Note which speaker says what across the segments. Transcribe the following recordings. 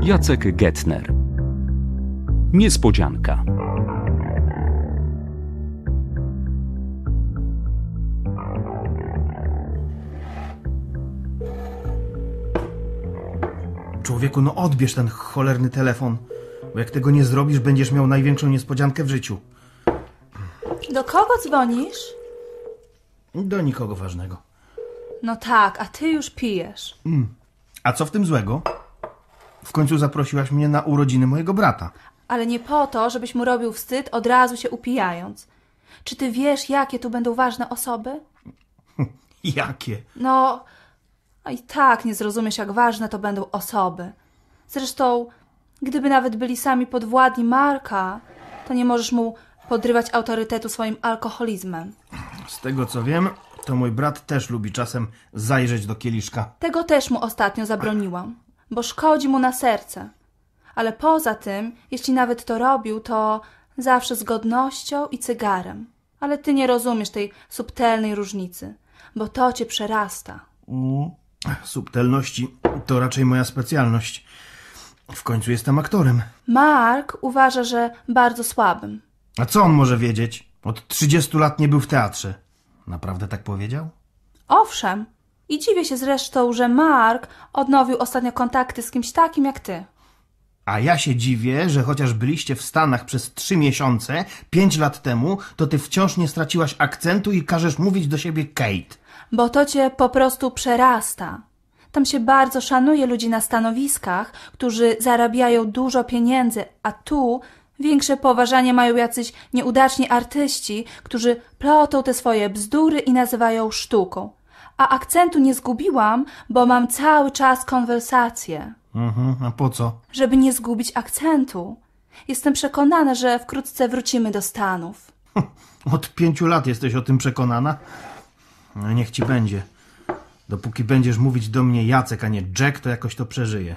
Speaker 1: Jacek Getner. Niespodzianka.
Speaker 2: Człowieku, no odbierz ten cholerny telefon. Bo jak tego nie zrobisz, będziesz miał największą niespodziankę w życiu.
Speaker 3: Do kogo dzwonisz?
Speaker 2: Do nikogo ważnego.
Speaker 3: No tak, a ty już pijesz.
Speaker 2: A co w tym złego? W końcu zaprosiłaś mnie na urodziny mojego brata.
Speaker 3: Ale nie po to, żebyś mu robił wstyd od razu się upijając. Czy ty wiesz, jakie tu będą ważne osoby?
Speaker 2: Jakie?
Speaker 3: No, a i tak nie zrozumiesz, jak ważne to będą osoby. Zresztą, gdyby nawet byli sami podwładni Marka, to nie możesz mu podrywać autorytetu swoim alkoholizmem.
Speaker 2: Z tego co wiem, to mój brat też lubi czasem zajrzeć do kieliszka.
Speaker 3: Tego też mu ostatnio zabroniłam, bo szkodzi mu na serce. Ale poza tym, jeśli nawet to robił, to zawsze z godnością i cygarem. Ale ty nie rozumiesz tej subtelnej różnicy, bo to cię przerasta.
Speaker 2: Subtelności to raczej moja specjalność. W końcu jestem aktorem.
Speaker 3: Mark uważa, że bardzo słabym.
Speaker 2: A co on może wiedzieć? Od 30 lat nie był w teatrze. Naprawdę tak powiedział?
Speaker 3: Owszem, i dziwię się zresztą, że Mark odnowił ostatnio kontakty z kimś takim jak ty.
Speaker 2: A ja się dziwię, że chociaż byliście w Stanach przez trzy miesiące, pięć lat temu, to ty wciąż nie straciłaś akcentu i każesz mówić do siebie Kate.
Speaker 3: Bo to cię po prostu przerasta. Tam się bardzo szanuje ludzi na stanowiskach, którzy zarabiają dużo pieniędzy, a tu większe poważanie mają jacyś nieudaczni artyści, którzy plotą te swoje bzdury i nazywają sztuką. A akcentu nie zgubiłam, bo mam cały czas konwersację
Speaker 2: Mhm, a po co?
Speaker 3: żeby nie zgubić akcentu. Jestem przekonana, że wkrótce wrócimy do Stanów.
Speaker 2: Od pięciu lat jesteś o tym przekonana? No niech ci będzie. Dopóki będziesz mówić do mnie Jacek, a nie Jack, to jakoś to przeżyję.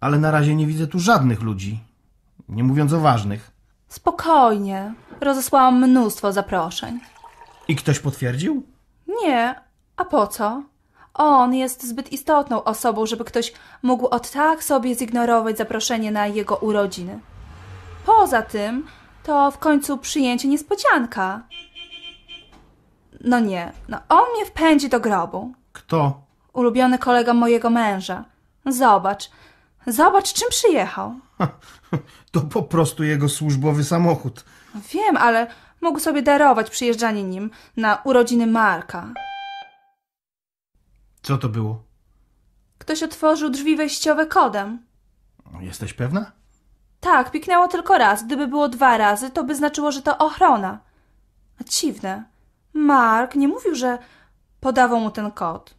Speaker 2: Ale na razie nie widzę tu żadnych ludzi. Nie mówiąc o ważnych.
Speaker 3: Spokojnie. Rozesłałam mnóstwo zaproszeń.
Speaker 2: I ktoś potwierdził?
Speaker 3: Nie, a po co? On jest zbyt istotną osobą, żeby ktoś mógł od tak sobie zignorować zaproszenie na jego urodziny. Poza tym, to w końcu przyjęcie niespodzianka. No nie, no on mnie wpędzi do grobu.
Speaker 2: Kto?
Speaker 3: ulubiony kolega mojego męża. Zobacz, zobacz, czym przyjechał.
Speaker 2: To po prostu jego służbowy samochód.
Speaker 3: Wiem, ale mógł sobie darować przyjeżdżanie nim na urodziny Marka.
Speaker 2: Co to było?
Speaker 3: Ktoś otworzył drzwi wejściowe kodem.
Speaker 2: Jesteś pewna?
Speaker 3: Tak, piknęło tylko raz. Gdyby było dwa razy, to by znaczyło, że to ochrona. A Dziwne. Mark nie mówił, że podawał mu ten kod.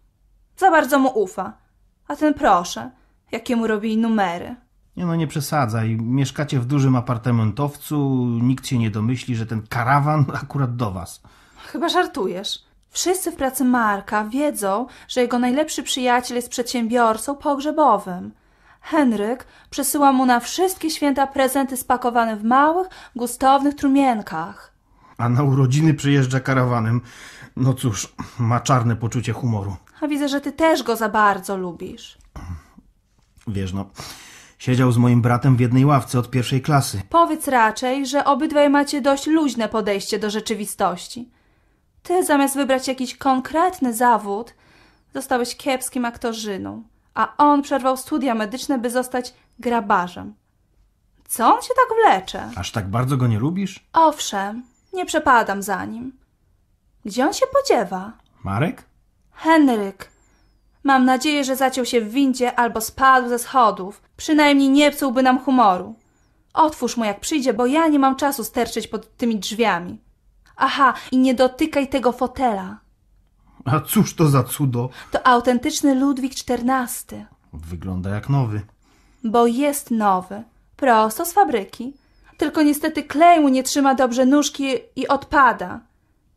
Speaker 3: Za bardzo mu ufa. A ten proszę, jakie mu robi numery.
Speaker 2: Nie no, nie przesadzaj. Mieszkacie w dużym apartamentowcu, nikt się nie domyśli, że ten karawan akurat do was.
Speaker 3: Chyba żartujesz. Wszyscy w pracy Marka wiedzą, że jego najlepszy przyjaciel jest przedsiębiorcą pogrzebowym. Henryk przesyła mu na wszystkie święta prezenty spakowane w małych, gustownych trumienkach.
Speaker 2: A na urodziny przyjeżdża karawanem. No cóż, ma czarne poczucie humoru.
Speaker 3: A widzę, że ty też go za bardzo lubisz.
Speaker 2: Wiesz no, siedział z moim bratem w jednej ławce od pierwszej klasy.
Speaker 3: Powiedz raczej, że obydwaj macie dość luźne podejście do rzeczywistości. Ty zamiast wybrać jakiś konkretny zawód, zostałeś kiepskim aktorzyną, a on przerwał studia medyczne, by zostać grabarzem. Co on się tak wlecze?
Speaker 2: Aż tak bardzo go nie lubisz?
Speaker 3: Owszem, nie przepadam za nim. Gdzie on się podziewa?
Speaker 2: Marek?
Speaker 3: Henryk. Mam nadzieję, że zaciął się w windzie albo spadł ze schodów. Przynajmniej nie psułby nam humoru. Otwórz mu jak przyjdzie, bo ja nie mam czasu sterczyć pod tymi drzwiami. Aha, i nie dotykaj tego fotela.
Speaker 2: A cóż to za cudo?
Speaker 3: To autentyczny Ludwik XIV,
Speaker 2: Wygląda jak nowy.
Speaker 3: bo jest nowy, prosto z fabryki. Tylko niestety klej mu nie trzyma dobrze nóżki i odpada.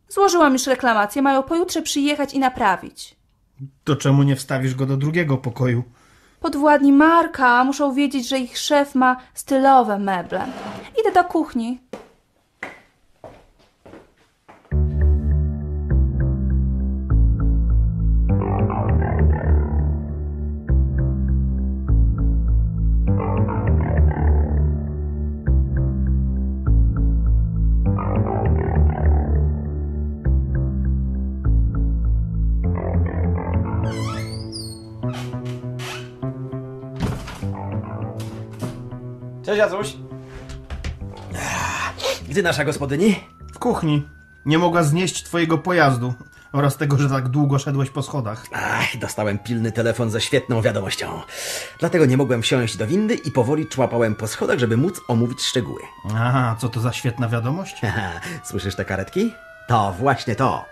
Speaker 3: Złożyłam już reklamację, mają pojutrze przyjechać i naprawić.
Speaker 2: To czemu nie wstawisz go do drugiego pokoju?
Speaker 3: Podwładni Marka muszą wiedzieć, że ich szef ma stylowe meble. Idę do kuchni.
Speaker 1: Cześć Jacuś. Gdzie nasza gospodyni?
Speaker 2: W kuchni. Nie mogła znieść twojego pojazdu oraz tego, że tak długo szedłeś po schodach.
Speaker 1: Ach, dostałem pilny telefon ze świetną wiadomością. Dlatego nie mogłem wsiąść do windy i powoli człapałem po schodach, żeby móc omówić szczegóły.
Speaker 2: Aha, co to za świetna wiadomość?
Speaker 1: Haha, Słyszysz te karetki? To właśnie to.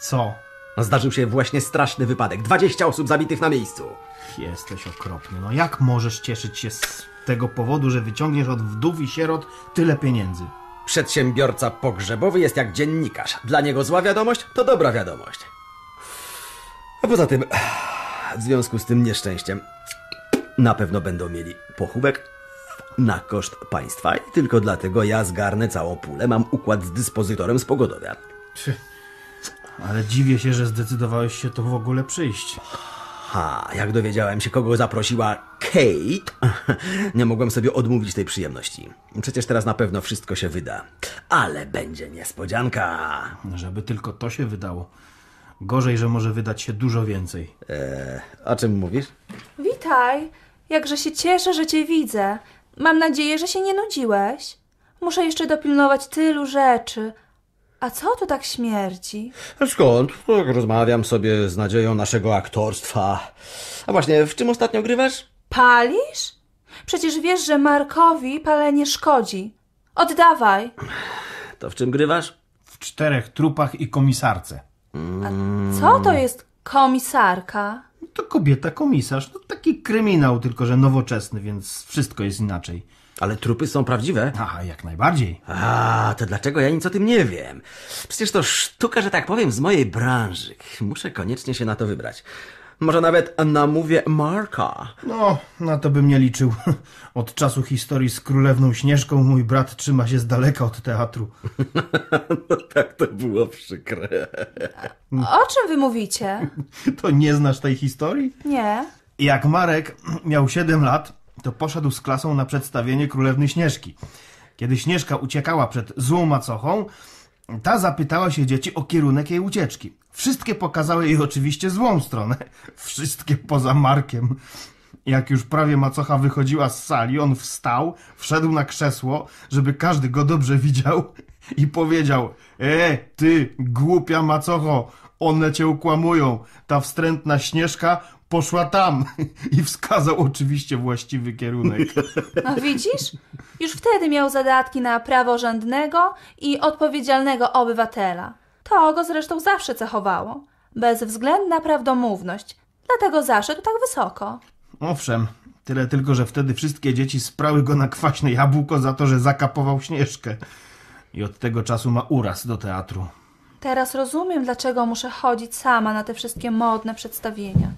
Speaker 2: Co?
Speaker 1: No, Zdarzył się właśnie straszny wypadek. 20 osób zabitych na miejscu.
Speaker 2: Jesteś okropny. No jak możesz cieszyć się z tego powodu, że wyciągniesz od wdów i sierot tyle pieniędzy?
Speaker 1: Przedsiębiorca pogrzebowy jest jak dziennikarz. Dla niego zła wiadomość to dobra wiadomość. A poza tym, w związku z tym nieszczęściem, na pewno będą mieli pochówek na koszt państwa i tylko dlatego ja zgarnę całą pulę. Mam układ z dyspozytorem z pogodowia.
Speaker 2: Pff, Ale dziwię się, że zdecydowałeś się tu w ogóle przyjść.
Speaker 1: Ha, jak dowiedziałem się, kogo zaprosiła Kate, nie mogłem sobie odmówić tej przyjemności. Przecież teraz na pewno wszystko się wyda. Ale będzie niespodzianka.
Speaker 2: Żeby tylko to się wydało. Gorzej, że może wydać się dużo więcej.
Speaker 1: Eee, o czym mówisz?
Speaker 3: Witaj. Jakże się cieszę, że cię widzę. Mam nadzieję, że się nie nudziłeś. Muszę jeszcze dopilnować tylu rzeczy. A co tu tak śmierdzi?
Speaker 1: Skąd? Tak rozmawiam sobie z nadzieją naszego aktorstwa. A właśnie, w czym ostatnio grywasz?
Speaker 3: Palisz? Przecież wiesz, że Markowi palenie szkodzi. Oddawaj.
Speaker 1: To w czym grywasz?
Speaker 2: W czterech trupach i komisarce.
Speaker 3: Co to jest komisarka?
Speaker 2: To kobieta komisarz. No taki kryminał, tylko że nowoczesny, więc wszystko jest inaczej.
Speaker 1: Ale trupy są prawdziwe.
Speaker 2: Aha, jak najbardziej.
Speaker 1: A, to dlaczego ja nic o tym nie wiem? Przecież to sztuka, że tak powiem, z mojej branży. Muszę koniecznie się na to wybrać. Może nawet namówię Marka.
Speaker 2: No, na to bym nie liczył. Od czasu historii z królewną Śnieżką mój brat trzyma się z daleka od teatru.
Speaker 1: No tak to było przykre.
Speaker 3: O czym wy mówicie?
Speaker 2: To nie znasz tej historii?
Speaker 3: Nie.
Speaker 2: Jak Marek miał 7 lat, to poszedł z klasą na przedstawienie królewny Śnieżki. Kiedy Śnieżka uciekała przed złą macochą, ta zapytała się dzieci o kierunek jej ucieczki. Wszystkie pokazały jej oczywiście złą stronę. Wszystkie poza Markiem. Jak już prawie macocha wychodziła z sali, on wstał, wszedł na krzesło, żeby każdy go dobrze widział i powiedział: E, ty, głupia macocho, one cię ukłamują. Ta wstrętna śnieżka poszła tam i wskazał oczywiście właściwy kierunek.
Speaker 3: No widzisz? Już wtedy miał zadatki na praworządnego i odpowiedzialnego obywatela. To go zresztą zawsze cechowało. Bezwzględna prawdomówność. Dlatego zaszedł tak wysoko.
Speaker 2: Owszem, tyle tylko, że wtedy wszystkie dzieci sprały go na kwaśne jabłko za to, że zakapował śnieżkę. I od tego czasu ma uraz do teatru.
Speaker 3: Teraz rozumiem, dlaczego muszę chodzić sama na te wszystkie modne przedstawienia.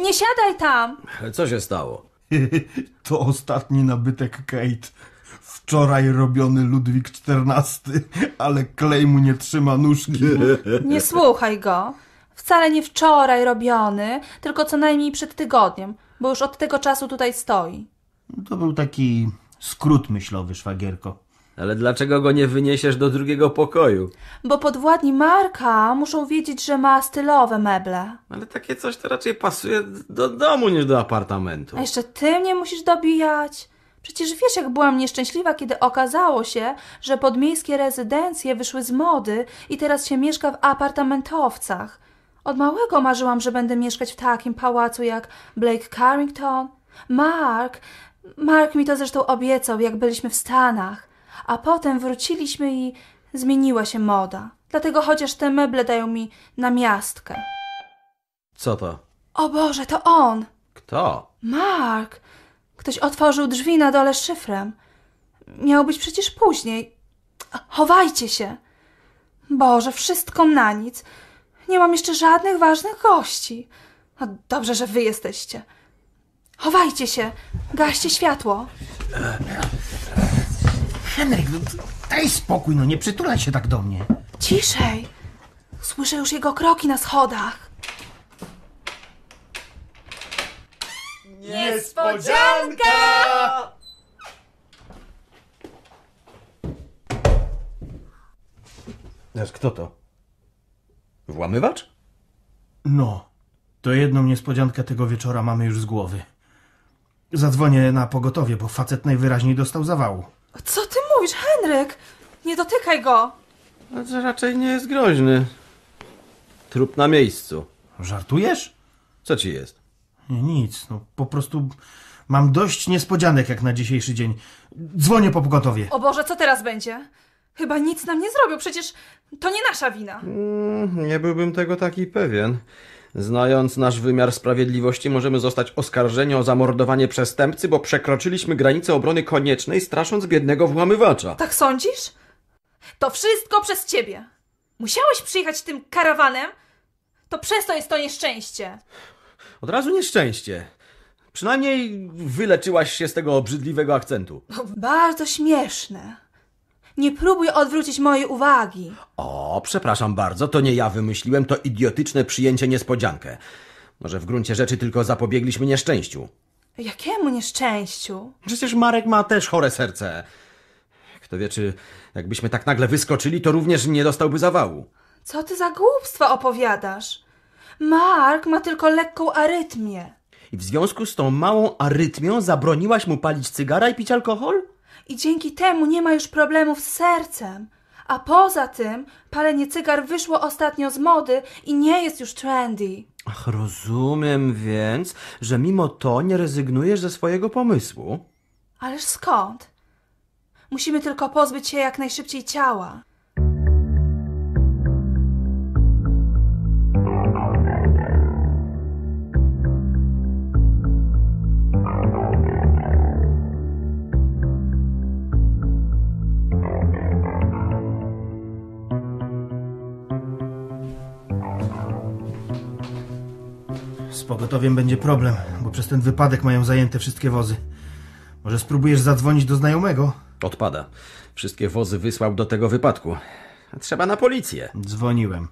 Speaker 3: Nie siadaj tam!
Speaker 1: Co się stało?
Speaker 2: To ostatni nabytek Kate. Wczoraj robiony Ludwik XIV, ale klej mu nie trzyma nóżki.
Speaker 3: Nie słuchaj go. Wcale nie wczoraj robiony, tylko co najmniej przed tygodniem, bo już od tego czasu tutaj stoi.
Speaker 2: To był taki skrót myślowy, szwagierko.
Speaker 1: Ale dlaczego go nie wyniesiesz do drugiego pokoju?
Speaker 3: Bo podwładni Marka muszą wiedzieć, że ma stylowe meble.
Speaker 1: Ale takie coś to raczej pasuje do domu niż do apartamentu.
Speaker 3: A jeszcze ty mnie musisz dobijać. Przecież wiesz, jak byłam nieszczęśliwa, kiedy okazało się, że podmiejskie rezydencje wyszły z mody i teraz się mieszka w apartamentowcach. Od małego marzyłam, że będę mieszkać w takim pałacu jak Blake Carrington. Mark, Mark mi to zresztą obiecał, jak byliśmy w Stanach. A potem wróciliśmy i zmieniła się moda. Dlatego chociaż te meble dają mi namiastkę.
Speaker 1: Co to?
Speaker 3: O Boże, to on!
Speaker 1: Kto?
Speaker 3: Mark! Ktoś otworzył drzwi na dole szyfrem. Miał być przecież później. Chowajcie się! Boże, wszystko na nic. Nie mam jeszcze żadnych ważnych gości. No dobrze, że wy jesteście. Chowajcie się! Gaście światło!
Speaker 2: Henryk, no to- daj spokój, no nie przytulaj się tak do mnie.
Speaker 3: Ciszej! Słyszę już jego kroki na schodach.
Speaker 1: Aż kto to? Włamywacz?
Speaker 2: No, to jedną niespodziankę tego wieczora mamy już z głowy. Zadzwonię na pogotowie, bo facet najwyraźniej dostał zawału.
Speaker 3: Co ty mówisz, Henryk? Nie dotykaj go!
Speaker 1: No to raczej nie jest groźny. Trup na miejscu.
Speaker 2: Żartujesz?
Speaker 1: Co ci jest?
Speaker 2: Nie, Nic, no po prostu mam dość niespodzianek jak na dzisiejszy dzień. Dzwonię po pogotowie.
Speaker 3: O Boże, co teraz będzie? Chyba nic nam nie zrobił, przecież to nie nasza wina.
Speaker 1: Mm, nie byłbym tego taki pewien. Znając nasz wymiar sprawiedliwości, możemy zostać oskarżeni o zamordowanie przestępcy, bo przekroczyliśmy granicę obrony koniecznej, strasząc biednego włamywacza.
Speaker 3: Tak sądzisz? To wszystko przez ciebie. Musiałeś przyjechać tym karawanem? To przez to jest to nieszczęście.
Speaker 1: Od razu nieszczęście. Przynajmniej wyleczyłaś się z tego obrzydliwego akcentu.
Speaker 3: No, Bardzo śmieszne. Nie próbuj odwrócić mojej uwagi.
Speaker 1: O, przepraszam bardzo, to nie ja wymyśliłem to idiotyczne przyjęcie niespodziankę. Może w gruncie rzeczy tylko zapobiegliśmy nieszczęściu.
Speaker 3: Jakiemu nieszczęściu?
Speaker 1: Przecież Marek ma też chore serce. Kto wie, czy jakbyśmy tak nagle wyskoczyli, to również nie dostałby zawału.
Speaker 3: Co ty za głupstwa opowiadasz? Mark ma tylko lekką arytmię.
Speaker 1: I w związku z tą małą arytmią zabroniłaś mu palić cygara i pić alkohol?
Speaker 3: I dzięki temu nie ma już problemów z sercem. A poza tym, palenie cygar wyszło ostatnio z mody i nie jest już trendy.
Speaker 1: Ach, rozumiem więc, że mimo to nie rezygnujesz ze swojego pomysłu.
Speaker 3: Ależ skąd? Musimy tylko pozbyć się jak najszybciej ciała.
Speaker 2: Z pogotowiem będzie problem, bo przez ten wypadek mają zajęte wszystkie wozy. Może spróbujesz zadzwonić do znajomego?
Speaker 1: Odpada. Wszystkie wozy wysłał do tego wypadku. Trzeba na policję.
Speaker 2: Dzwoniłem,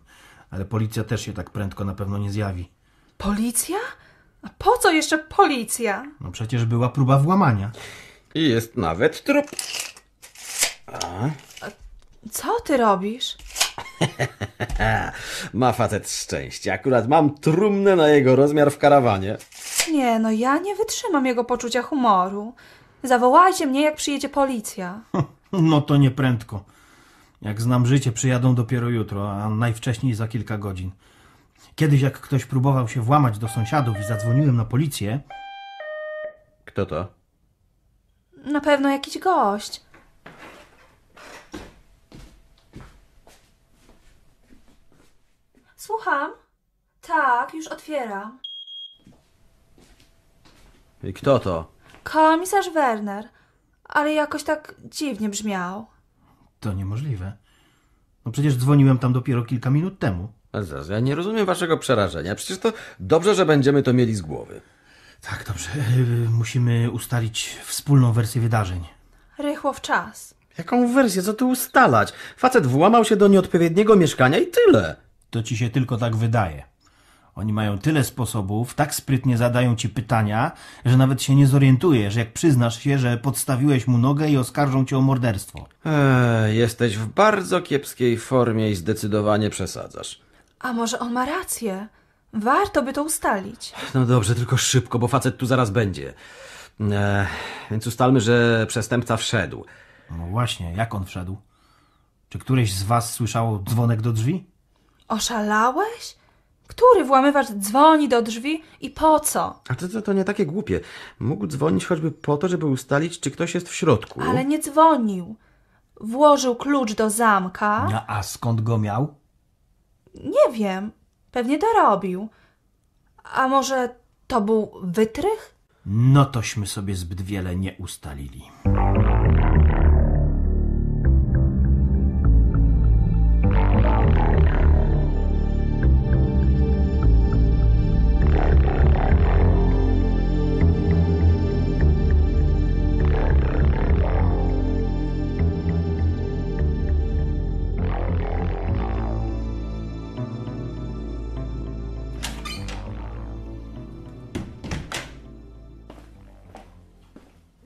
Speaker 2: ale policja też się tak prędko na pewno nie zjawi.
Speaker 3: Policja? A po co jeszcze policja?
Speaker 2: No przecież była próba włamania.
Speaker 1: I jest nawet trup.
Speaker 3: Co ty robisz?
Speaker 1: Ma facet szczęście. Akurat mam trumnę na jego rozmiar w karawanie.
Speaker 3: Nie, no ja nie wytrzymam jego poczucia humoru. Zawołajcie mnie, jak przyjedzie policja.
Speaker 2: No to nie prędko. Jak znam życie, przyjadą dopiero jutro, a najwcześniej za kilka godzin. Kiedyś jak ktoś próbował się włamać do sąsiadów i zadzwoniłem na policję,
Speaker 1: Kto to?
Speaker 3: Na pewno jakiś gość. Słucham? Tak, już otwieram.
Speaker 1: I kto to?
Speaker 3: Komisarz Werner, ale jakoś tak dziwnie brzmiał.
Speaker 2: to niemożliwe. No przecież dzwoniłem tam dopiero kilka minut temu.
Speaker 1: Ale Zaraz, ja nie rozumiem waszego przerażenia. Przecież to dobrze, że będziemy to mieli z głowy.
Speaker 2: Tak, dobrze. Yy, musimy ustalić wspólną wersję wydarzeń.
Speaker 3: Rychło w czas.
Speaker 1: Jaką wersję? Co tu ustalać? Facet włamał się do nieodpowiedniego mieszkania i tyle.
Speaker 2: To ci się tylko tak wydaje. Oni mają tyle sposobów, tak sprytnie zadają ci pytania, że nawet się nie zorientujesz, jak przyznasz się, że podstawiłeś mu nogę i oskarżą cię o morderstwo.
Speaker 1: Eee, jesteś w bardzo kiepskiej formie i zdecydowanie przesadzasz.
Speaker 3: A może on ma rację? Warto by to ustalić.
Speaker 1: No dobrze, tylko szybko, bo facet tu zaraz będzie. Eee, więc ustalmy, że przestępca wszedł.
Speaker 2: No właśnie, jak on wszedł? Czy któreś z was słyszało dzwonek do drzwi?
Speaker 3: Oszalałeś? Który włamywacz dzwoni do drzwi i po co?
Speaker 1: A to, to, to nie takie głupie. Mógł dzwonić choćby po to, żeby ustalić, czy ktoś jest w środku.
Speaker 3: Ale nie dzwonił. Włożył klucz do zamka.
Speaker 2: A, a skąd go miał?
Speaker 3: Nie wiem. Pewnie dorobił. A może to był wytrych?
Speaker 2: No tośmy sobie zbyt wiele nie ustalili.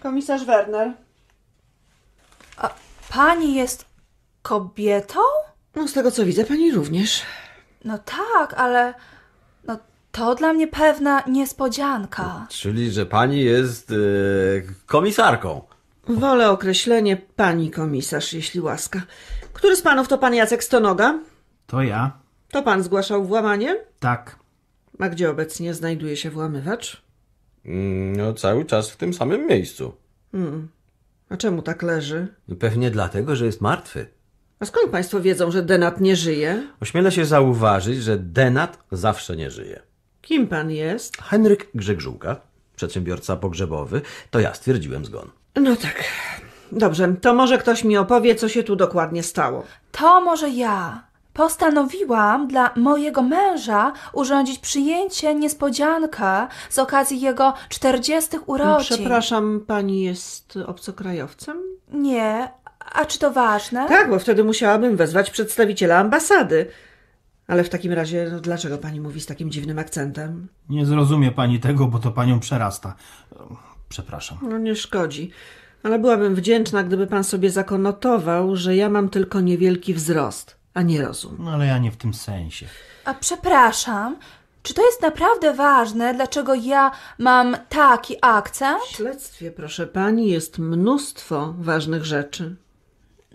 Speaker 4: Komisarz Werner.
Speaker 3: Pani jest kobietą?
Speaker 4: No z tego co widzę, pani również.
Speaker 3: No tak, ale. No To dla mnie pewna niespodzianka.
Speaker 1: Czyli, że pani jest yy, komisarką.
Speaker 4: Wolę określenie pani komisarz, jeśli łaska. Który z panów to pan Jacek Stonoga?
Speaker 2: To ja.
Speaker 4: To pan zgłaszał włamanie?
Speaker 2: Tak.
Speaker 4: A gdzie obecnie znajduje się włamywacz?
Speaker 1: Mm, No, cały czas w tym samym miejscu.
Speaker 4: A czemu tak leży?
Speaker 1: Pewnie dlatego, że jest martwy.
Speaker 4: A skąd państwo wiedzą, że Denat nie żyje?
Speaker 1: Ośmielę się zauważyć, że Denat zawsze nie żyje.
Speaker 4: Kim pan jest?
Speaker 1: Henryk Grzegżółka, przedsiębiorca pogrzebowy, to ja stwierdziłem zgon.
Speaker 4: No tak. Dobrze, to może ktoś mi opowie, co się tu dokładnie stało.
Speaker 3: To może ja. Postanowiłam dla mojego męża urządzić przyjęcie niespodziankę z okazji jego 40 urodzin.
Speaker 4: No, Przepraszam, pani jest obcokrajowcem?
Speaker 3: Nie, a czy to ważne?
Speaker 4: Tak, bo wtedy musiałabym wezwać przedstawiciela ambasady. Ale w takim razie, no, dlaczego pani mówi z takim dziwnym akcentem?
Speaker 2: Nie zrozumie pani tego, bo to panią przerasta. Przepraszam.
Speaker 4: No nie szkodzi. Ale byłabym wdzięczna, gdyby pan sobie zakonotował, że ja mam tylko niewielki wzrost, a nie rozum.
Speaker 2: No ale ja nie w tym sensie.
Speaker 3: A przepraszam, czy to jest naprawdę ważne, dlaczego ja mam taki akcent?
Speaker 4: W śledztwie, proszę pani, jest mnóstwo ważnych rzeczy.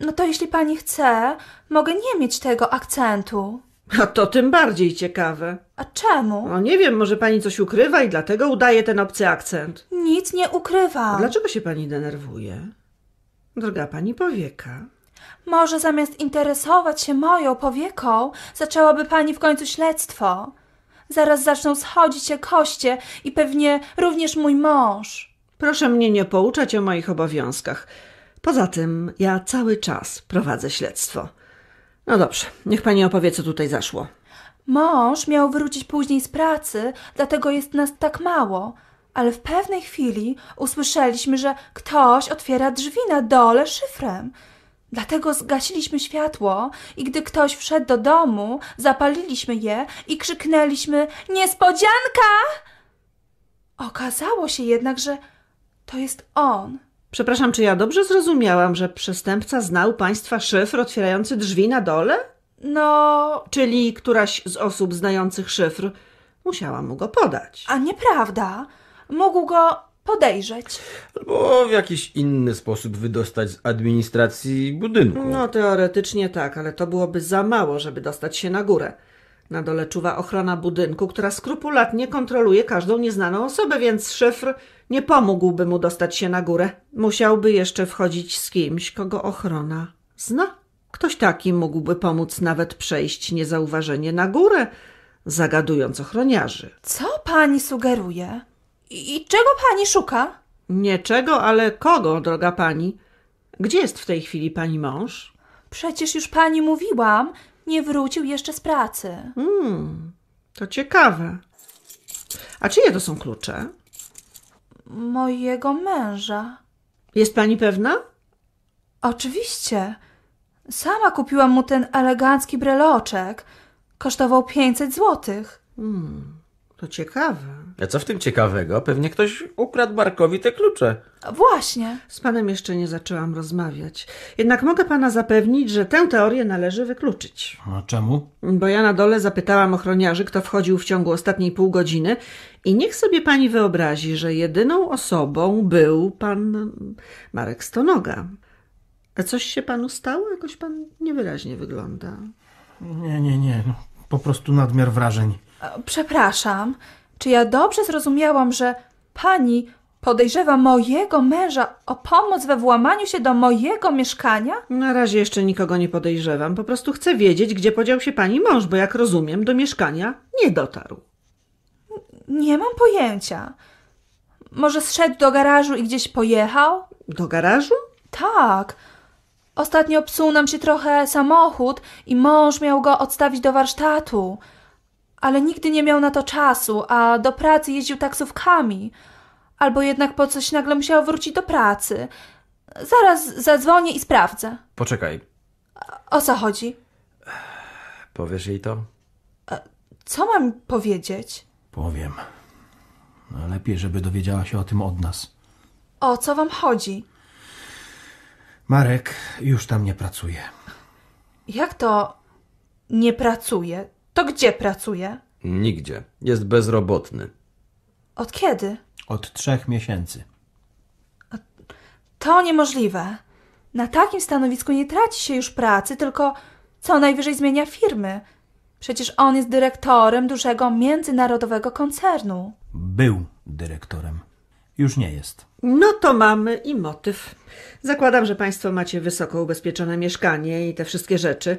Speaker 3: No to jeśli pani chce, mogę nie mieć tego akcentu.
Speaker 4: A to tym bardziej ciekawe.
Speaker 3: A czemu?
Speaker 4: No nie wiem, może pani coś ukrywa i dlatego udaje ten obcy akcent.
Speaker 3: Nic nie
Speaker 4: A
Speaker 3: ukrywam.
Speaker 4: dlaczego się pani denerwuje? Droga pani powieka.
Speaker 3: Może zamiast interesować się moją powieką, zaczęłaby pani w końcu śledztwo. Zaraz zaczną schodzić się koście i pewnie również mój mąż.
Speaker 4: Proszę mnie nie pouczać o moich obowiązkach. Poza tym, ja cały czas prowadzę śledztwo. No dobrze, niech pani opowie, co tutaj zaszło.
Speaker 3: Mąż miał wrócić później z pracy, dlatego jest nas tak mało. Ale w pewnej chwili usłyszeliśmy, że ktoś otwiera drzwi na dole szyfrem. Dlatego zgasiliśmy światło i gdy ktoś wszedł do domu, zapaliliśmy je i krzyknęliśmy Niespodzianka! Okazało się jednak, że to jest on.
Speaker 4: Przepraszam, czy ja dobrze zrozumiałam, że przestępca znał państwa szyfr otwierający drzwi na dole?
Speaker 3: No,
Speaker 4: Czyli któraś z osób znających szyfr musiała mu go podać.
Speaker 3: a nieprawda. Mógł go podejrzeć.
Speaker 1: Albo w jakiś inny sposób wydostać z administracji budynku.
Speaker 4: No, teoretycznie tak, ale to byłoby za mało, żeby dostać się na górę. Na dole czuwa ochrona budynku, która skrupulatnie kontroluje każdą nieznaną osobę, więc szyfr nie pomógłby mu dostać się na górę. Musiałby jeszcze wchodzić z kimś, kogo ochrona zna. Ktoś taki mógłby pomóc nawet przejść niezauważenie na górę, zagadując ochroniarzy.
Speaker 3: Co pani sugeruje? I i czego pani szuka?
Speaker 4: Nie czego, ale kogo, droga pani? Gdzie jest w tej chwili pani mąż?
Speaker 3: Przecież już pani mówiłam, nie wrócił jeszcze z pracy.
Speaker 4: To ciekawe. A czyje to są klucze?
Speaker 3: Mojego męża.
Speaker 4: Jest pani pewna?
Speaker 3: Oczywiście. Sama kupiłam mu ten elegancki breloczek. Kosztował 500 złotych.
Speaker 4: To ciekawe.
Speaker 1: A co w tym ciekawego? Pewnie ktoś ukradł Markowi te klucze.
Speaker 3: Właśnie.
Speaker 4: Z panem jeszcze nie zaczęłam rozmawiać. Jednak mogę pana zapewnić, że tę teorię należy wykluczyć.
Speaker 2: No czemu?
Speaker 4: Bo ja na dole zapytałam ochroniarzy, kto wchodził w ciągu ostatniej pół godziny i niech sobie pani wyobrazi, że jedyną osobą był pan Marek Stonoga. A coś się panu stało? Jakoś pan niewyraźnie wygląda.
Speaker 2: Nie, nie, nie. no, Po prostu nadmiar wrażeń.
Speaker 3: E, Przepraszam, czy ja dobrze zrozumiałam, że pani podejrzewa mojego męża o pomoc we włamaniu się do mojego mieszkania?
Speaker 4: Na razie jeszcze nikogo nie podejrzewam. Po prostu chcę wiedzieć, gdzie podział się pani mąż, bo jak rozumiem, do mieszkania nie dotarł.
Speaker 3: Nie mam pojęcia. Może zszedł do garażu i gdzieś pojechał?
Speaker 4: Do garażu?
Speaker 3: Tak. Ostatnio psuł nam się trochę samochód i mąż miał go odstawić do warsztatu. Ale nigdy nie miał na to czasu, a do pracy jeździł taksówkami. Albo jednak po coś nagle musiał wrócić do pracy. Zaraz zadzwonię i sprawdzę.
Speaker 1: Poczekaj,
Speaker 3: O co chodzi?
Speaker 1: powiesz jej to?
Speaker 3: Co mam powiedzieć?
Speaker 2: Powiem. No, lepiej, żeby dowiedziała się o tym od nas.
Speaker 3: O co wam chodzi?
Speaker 2: Marek już tam nie pracuje.
Speaker 3: Jak to nie pracuje? To gdzie pracuje?
Speaker 1: Nigdzie. Jest bezrobotny.
Speaker 3: Od kiedy?
Speaker 2: Od trzech miesięcy.
Speaker 3: To niemożliwe. Na takim stanowisku nie traci się już pracy, tylko co najwyżej zmienia firmy. Przecież on jest dyrektorem dużego międzynarodowego koncernu.
Speaker 2: Był dyrektorem. Już nie jest.
Speaker 4: No to mamy i motyw. Zakładam, że Państwo macie wysoko ubezpieczone mieszkanie i te wszystkie rzeczy.